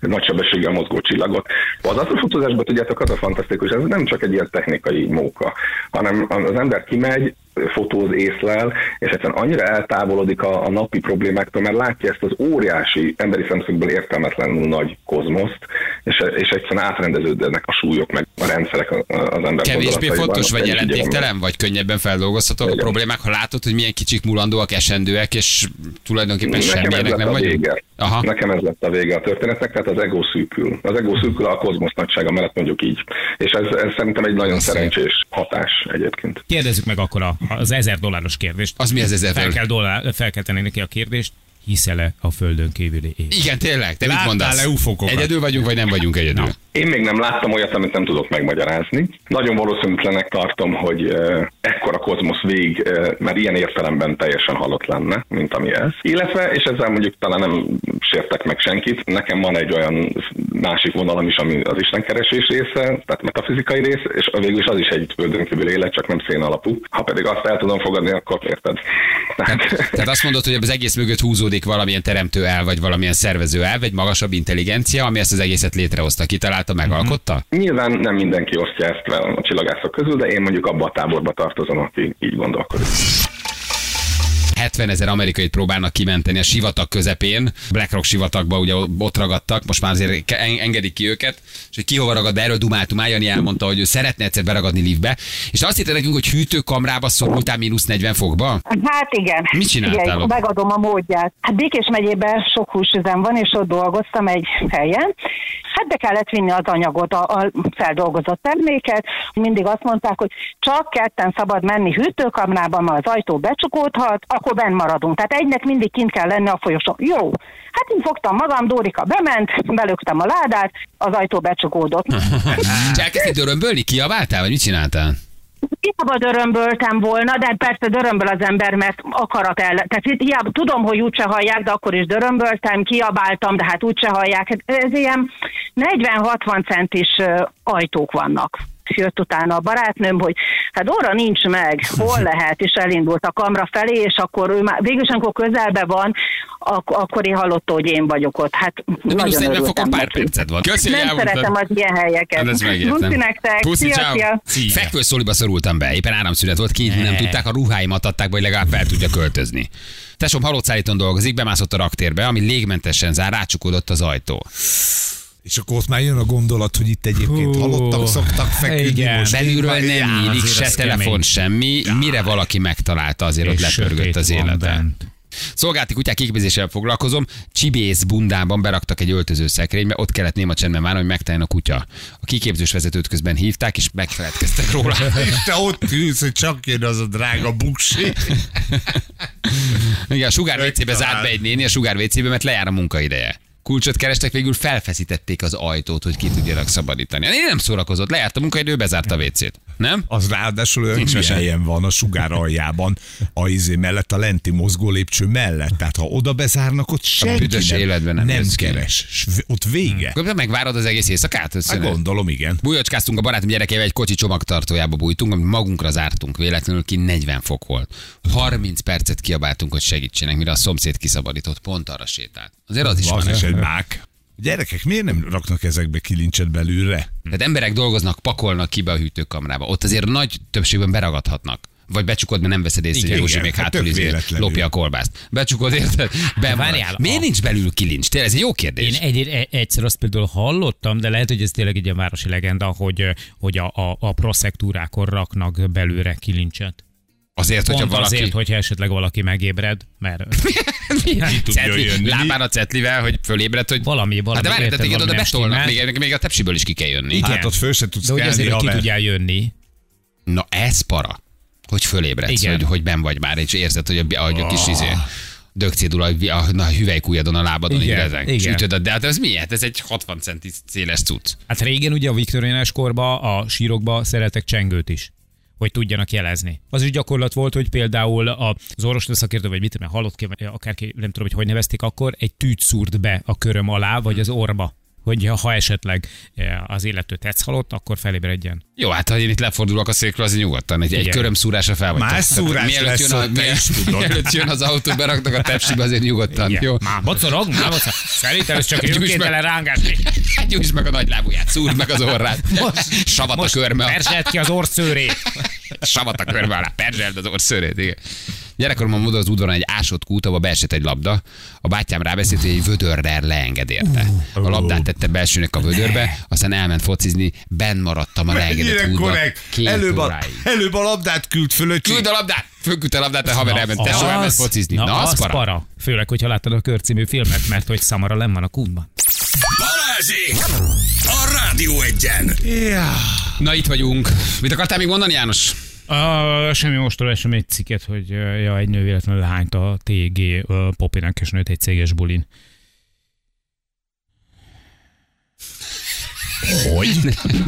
I: nagy sebességgel mozgó csillagot. Az asztrofotózásban tudjátok, az a fantasztikus, ez nem csak egy ilyen technikai móka, hanem az ember kimegy, fotóz észlel, és egyszerűen annyira eltávolodik a, a napi problémáktól, mert látja ezt az óriási, emberi szemszögből értelmetlenül nagy kozmoszt, és, és egyszerűen átrendeződnek a súlyok, meg a rendszerek a- a- az ember
B: Kevésbé
I: gondolataiban.
B: fontos vagy
I: Egy ilyen-
B: jelentéktelen, vagy könnyebben feldolgozhatók a
I: Igen.
B: problémák, ha látod, hogy milyen kicsik, mulandóak, esendőek, és tulajdonképpen
I: Nekem ez
B: semmilyenek
I: lett
B: nem
I: a
B: vagyunk.
I: vége.
B: Aha.
I: Nekem ez lett a vége a történetnek, tehát az ego szűkül. Az ego szűkül a kozmosz nagysága mellett mondjuk így. És ez, ez szerintem egy nagyon
B: Ez szép.
I: szerencsés hatás egyébként.
D: Kérdezzük meg akkor a, az ezer dolláros kérdést.
B: Az mi az ezer
D: fel
B: dollár?
D: kell, dollár, fel kell tenni neki a kérdést, hiszel-e a földön kívüli ég?
B: Igen, tényleg, te mit
C: Láttál-e
B: mondasz?
C: ufókokat?
B: Egyedül vagyunk, vagy nem vagyunk egyedül?
I: Én még nem láttam olyat, amit nem tudok megmagyarázni. Nagyon valószínűtlenek tartom, hogy eh, ekkora kozmosz végig, eh, mert ilyen értelemben teljesen halott lenne, mint ami ez. Illetve, és ezzel mondjuk talán nem sértek meg senkit, nekem van egy olyan másik vonalam is, ami az istenkeresés része, tehát metafizikai rész, és végül is az is egy földönkívül élet, csak nem szén alapú. Ha pedig azt el tudom fogadni, akkor érted.
J: <laughs>
I: Tehát,
B: Tehát azt mondod, hogy az egész mögött húzódik valamilyen teremtő el, vagy valamilyen szervező el, vagy magasabb intelligencia, ami ezt az egészet létrehozta, kitalálta,
J: Mhm.
B: megalkotta?
I: <laughs> nyilván nem mindenki osztja ezt vel a csillagászok közül, de én mondjuk abba a táborba tartozom, aki így gondolkodik.
B: 70 ezer amerikait próbálnak kimenteni a sivatag közepén. BlackRock sivatagba ugye ott ragadtak, most már azért ke- en- engedik ki őket, és hogy ki hova ragad, erről dumáltunk, már Jani elmondta, hogy ő szeretne egyszer beragadni liftbe, és azt hitte nekünk, hogy hűtőkamrába szorultál mínusz 40 fokba.
J: Hát igen.
B: Mit csináltál
J: Igen,
B: ott?
J: megadom a módját. Hát Békés megyében sok húsüzem van, és ott dolgoztam egy helyen. Hát be kellett vinni az anyagot, a, a feldolgozott terméket. Mindig azt mondták, hogy csak ketten szabad menni hűtőkamrába, mert az ajtó becsukódhat, akkor benn maradunk. Tehát egynek mindig kint kell lenni a folyosón. Jó. Hát én fogtam magam, Dórika bement, belöktem a ládát, az ajtó becsukódott.
B: És elkezdtél dörömbölni, kiabáltál, vagy mit csináltál?
J: Hiába dörömböltem volna, de hát persze dörömböl az ember, mert akarat el. Tehát itt hiába tudom, hogy úgyse hallják, de akkor is dörömböltem, kiabáltam, de hát úgyse hallják. Hát Ez ilyen 40-60 centis ö, ajtók vannak. És Jött utána a barátnőm, hogy hát óra nincs meg,
B: <laughs>
J: hol lehet, és elindult a kamra felé, és akkor ő már végülis, amikor közelbe van, ak- akkor én hallotta, hogy én vagyok ott. Hát
B: De mínusz
J: nagyon
B: 40 fokon
J: örültem
B: pár
J: neki.
B: percet van. Köszi, hogy
J: Nem
B: elmondtad.
J: szeretem az ilyen helyeket.
B: Hát ez megértem.
J: Puszi nektek.
B: Puszi,
J: szia,
B: ciao.
J: szia.
B: Szia. Fekvő szóliba szorultam be, éppen áramszünet volt, kint nem tudták, a ruháimat adták, be, hogy legalább fel tudja költözni. Tesóm halócállítón dolgozik, bemászott a raktérbe, ami légmentesen zár, rácsukódott az ajtó.
C: És akkor ott már jön a gondolat, hogy itt egyébként
D: Hú.
C: halottak szoktak feküdni.
D: Igen.
C: most
B: Belülről nem
D: Hát azért
B: nyílik,
D: az
B: se
D: kemény.
B: telefon, semmi. Mire valaki megtalálta, azért ott
D: És
B: lepörgött
D: sötét
B: az
D: van
B: élete.
D: bent.
B: Szolgálti kutyák kikbézéssel foglalkozom, csibész bundában beraktak egy öltöző szekrénybe, ott kellett néma csendben várni, hogy megtaláljon a kutya. A kiképzős vezetőt közben hívták, és megfeledkeztek róla.
D: <laughs>
C: <laughs> És te ott ülsz, hogy csak jön az a drága buksi.
B: Igen, a sugár WC-be
C: Rögtön
B: zárt
C: áll.
B: be egy néni, a sugár WC-be, mert lejár a munkaideje. Kulcsot kerestek, végül felfeszítették az ajtót, hogy ki tudjanak szabadítani. Én nem szórakozott, lejárt a munkaidő, bezárt a WC-t. Nem?
C: Az ráadásul olyan
B: Nincs
C: kis
B: ilyen.
C: helyen van a sugár aljában, a izé mellett, a lenti mozgó lépcső mellett. Tehát ha oda bezárnak, ott senki
B: büdös
C: nem,
B: életben nem
C: nem,
B: jössz ki. Hm,
C: keres. S v- Ott vége.
B: Akkor megvárod az egész éjszakát?
C: Hát
B: Összönöd.
C: gondolom, igen.
B: Bújocskáztunk a barátom gyerekével, egy kocsi csomagtartójába bújtunk, amit magunkra zártunk véletlenül, ki 40 fok volt. 30 percet kiabáltunk, hogy segítsenek, mire a szomszéd kiszabadított, pont arra sétált. Azért az is
C: Az
B: van.
C: is egy mák. Gyerekek, miért nem raknak ezekbe kilincset belülre?
B: Hm. Tehát emberek dolgoznak, pakolnak ki be a hűtőkamrába. Ott azért nagy többségben beragadhatnak. Vagy becsukod, mert nem veszed észre, hogy
C: Igen,
B: Józsi
C: igen,
B: még
C: hát
B: hátul
C: tök
B: izé
C: véletlenül.
B: lopja a kolbászt. Becsukod, érted? Ben
D: Hát Várjál,
B: marad. Miért
D: a-
B: nincs belül kilincs? Tényleg ez egy jó
D: Én
B: kérdés.
D: egy, egy- egyszer azt például hallottam, de lehet, hogy ez tényleg egy ilyen eh, városi legenda, hogy, hogy a, a, a proszektúrákor raknak belőle kilincset.
B: Azért,
D: Pont
B: Szóval hogyha valaki...
D: azért, hogyha esetleg valaki megébred, mert
B: <laughs> Mi
C: tudja
B: Cetli,
C: jönni?
B: Lábán a cetlivel, hogy fölébredt, hogy...
D: valami,
B: Hát
D: valami.
B: de várj,
D: érted,
B: tehát igen,
D: valami
B: oda
D: nem
B: bestolnak,
D: stimmel.
B: még, még a tepsiből is ki kell jönni.
D: Igen.
C: Hát ott föl se tudsz
D: De hogy
C: kelni,
D: azért, hogy ki
C: haver.
D: tudjál jönni.
B: Na ez para, hogy fölébredsz,
D: Igen.
B: hogy, hogy ben vagy már, és érzed, hogy a, hogy a
C: Ah.
B: kis izé, dögcédula a, a, a hüvelykújadon, a lábadon
D: Igen,
B: igazán
D: igen.
B: sütöd, a- de hát ez mi? Hát ez egy 60 centi széles cucc.
D: Hát régen ugye a viktoriánás korba, a sírokba szeretek csengőt is hogy tudjanak jelezni. Az is gyakorlat volt, hogy például az orvos szakértő, vagy mit tudom, én, halott ki, vagy akárki, nem tudom, hogy hogy nevezték akkor, egy tűt szúrt be a köröm alá, vagy az orba, hogy ha esetleg eh, az illető tetsz halott, akkor felébredjen.
B: Jó, hát ha én itt lefordulok a székről, az nyugodtan. Egy, egy
D: Igen.
B: köröm szúrása fel vagy.
C: Más
B: Tehát,
C: szúrás lesz
B: jön, a,
C: ott, te is
B: mielőtt,
C: tudod.
B: <laughs> mielőtt jön az autó, beraknak a tepsibe, azért nyugodtan.
D: Igen.
B: Hát Jó?
D: Már bocorog, már bocorog. Szerintem ez csak
B: Gyújts meg.
D: önkéntelen rángás.
B: <laughs> Gyújtsd meg a nagy lábuját, szúrd meg az orrát. Savat a körme.
D: Perselt ki az orszőrét.
B: <laughs> Savat a körbe alá, perzseld az orszőrét, igen. Gyerekkoromban módon az udvaron egy ásott kút, abba beesett egy labda. A bátyám rábeszélt, hogy egy vödörrel leenged érte. A labdát tette belsőnek a vödörbe, aztán elment focizni, benn maradtam a leengedett
C: Mennyire
B: kútba.
C: korrekt.
B: Két
C: Előbb a,
B: óráig.
C: előbb a labdát küld fölöcsi.
B: Küld a labdát! Fölküld a labdát, a haver elment. Te soha elment focizni. Na, az, para.
D: Főleg, hogyha láttad a körcímű filmet, mert hogy Szamara lenn van a kútban.
A: Balázsék! A Rádió Egyen!
B: Na itt vagyunk. Mit akartál még mondani, János?
D: Uh, semmi most olvasom egy cikket, hogy uh, ja, egy nő véletlenül hányt a TG uh, popinak és nőtt egy céges bulin.
C: Hogy?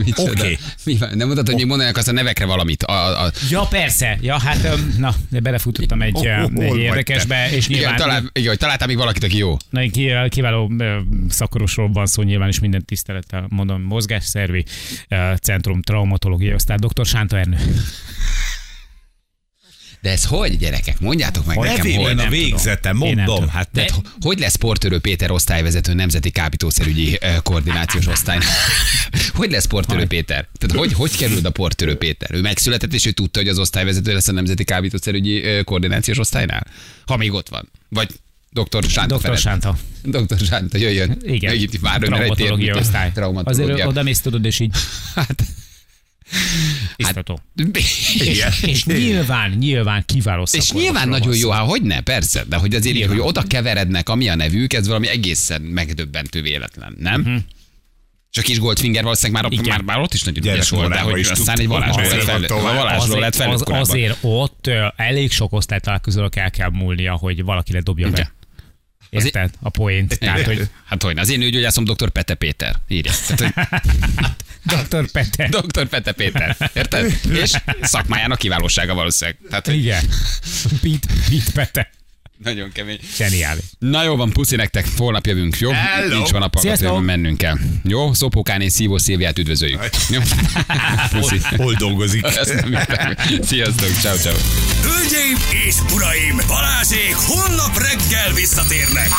B: Micsoda?
C: Oké.
B: Mi van? Nem mutatod, hogy még mondanak azt a nevekre valamit. A, a,
D: Ja, persze. Ja, hát um, na, de belefutottam egy,
C: Hol-
D: oh,
C: hol
D: egy
C: vagy
D: érdekesbe, és
B: igen,
D: nyilván
B: talál, igen, hogy találtál még valakit, aki jó.
D: Na, egy ki- kiváló ö, szakorosról van szó, nyilván is minden tisztelettel mondom, mozgásszervi ö, centrum traumatológiai osztály, dr. Sánta Ernő.
B: Hát De ez hogy, gyerekek? Mondjátok meg nekem,
C: Nevében
B: hogy.
C: a
D: nem tudom.
C: végzete,
D: Én nem
C: mondom.
D: tudom.
C: Hát
B: De
C: ne-
B: hogy lesz portörő Péter osztályvezető nemzeti kábítószerügyi ö, koordinációs osztály? <laughs> hogy lesz portörő Péter? Tehát hogy, hogy kerül a portörő Péter? Ő megszületett, és ő tudta, hogy az osztályvezető lesz a nemzeti kábítószerügyi ö, koordinációs osztálynál? Ha még ott van. Vagy Dr. Sánta.
D: Dr.
B: Ferenc.
D: Sánta.
B: Dr. Sánta, jöjjön.
D: Igen.
B: Megint már önre egy
D: traumatológiai
B: térmítő.
D: osztály.
B: Traumatológia.
D: Azért
B: <laughs>
D: oda mész, tudod, és így
B: Hát,
D: iztató.
B: és,
D: És, és nyilván, nyilván kiváló
B: és
D: szakorvosról
B: nyilván
D: van
B: nagyon
D: szó.
B: jó, hát hogy ne, persze, de hogy azért, hogy oda keverednek, ami a nevük, ez valami egészen megdöbbentő véletlen, nem?
C: Mhm.
B: Uh-huh. És a kis Goldfinger valószínűleg már,
D: Igen.
B: már, már ott is nagyon ügyes volt,
C: Gyerekkorában
B: de hogy
C: is
B: aztán
C: tudtuk,
B: egy varázsló
C: azért
B: lett fel,
C: van tovább.
B: varázsló lett
D: Azért,
B: fel
D: az,
B: korábban.
D: azért ott ö, elég sok osztálytalálkozónak el kell múlnia, hogy valaki ledobja
B: Igen.
D: be. Érted? A poént. Tehát,
B: <laughs>
D: hogy
B: Hát hogy, ne, az én nőgyógyászom dr. Pete Péter, írja. Tehát, hogy
C: <laughs>
D: Dr. Pete.
B: dr. Pete Péter, érted? És szakmájának kiválósága valószínűleg. Tehát, hogy <laughs>
D: Igen. Pete, Pete Pete.
B: nagyon kemény.
D: Zseniális.
B: Na jó van, puszi nektek, holnap jövünk, jó?
C: Hello.
B: Nincs van apakat,
D: Sziasztok.
B: jövünk, mennünk kell. Jó? Szopókán és Szívó Szilviát üdvözöljük. Jó? Puszi.
C: Hát. <laughs> Hol- Hol dolgozik?
B: <laughs> Ezt nem írtam. Sziasztok, ciao ciao.
A: Hölgyeim és uraim, Balázsék holnap reggel visszatérnek!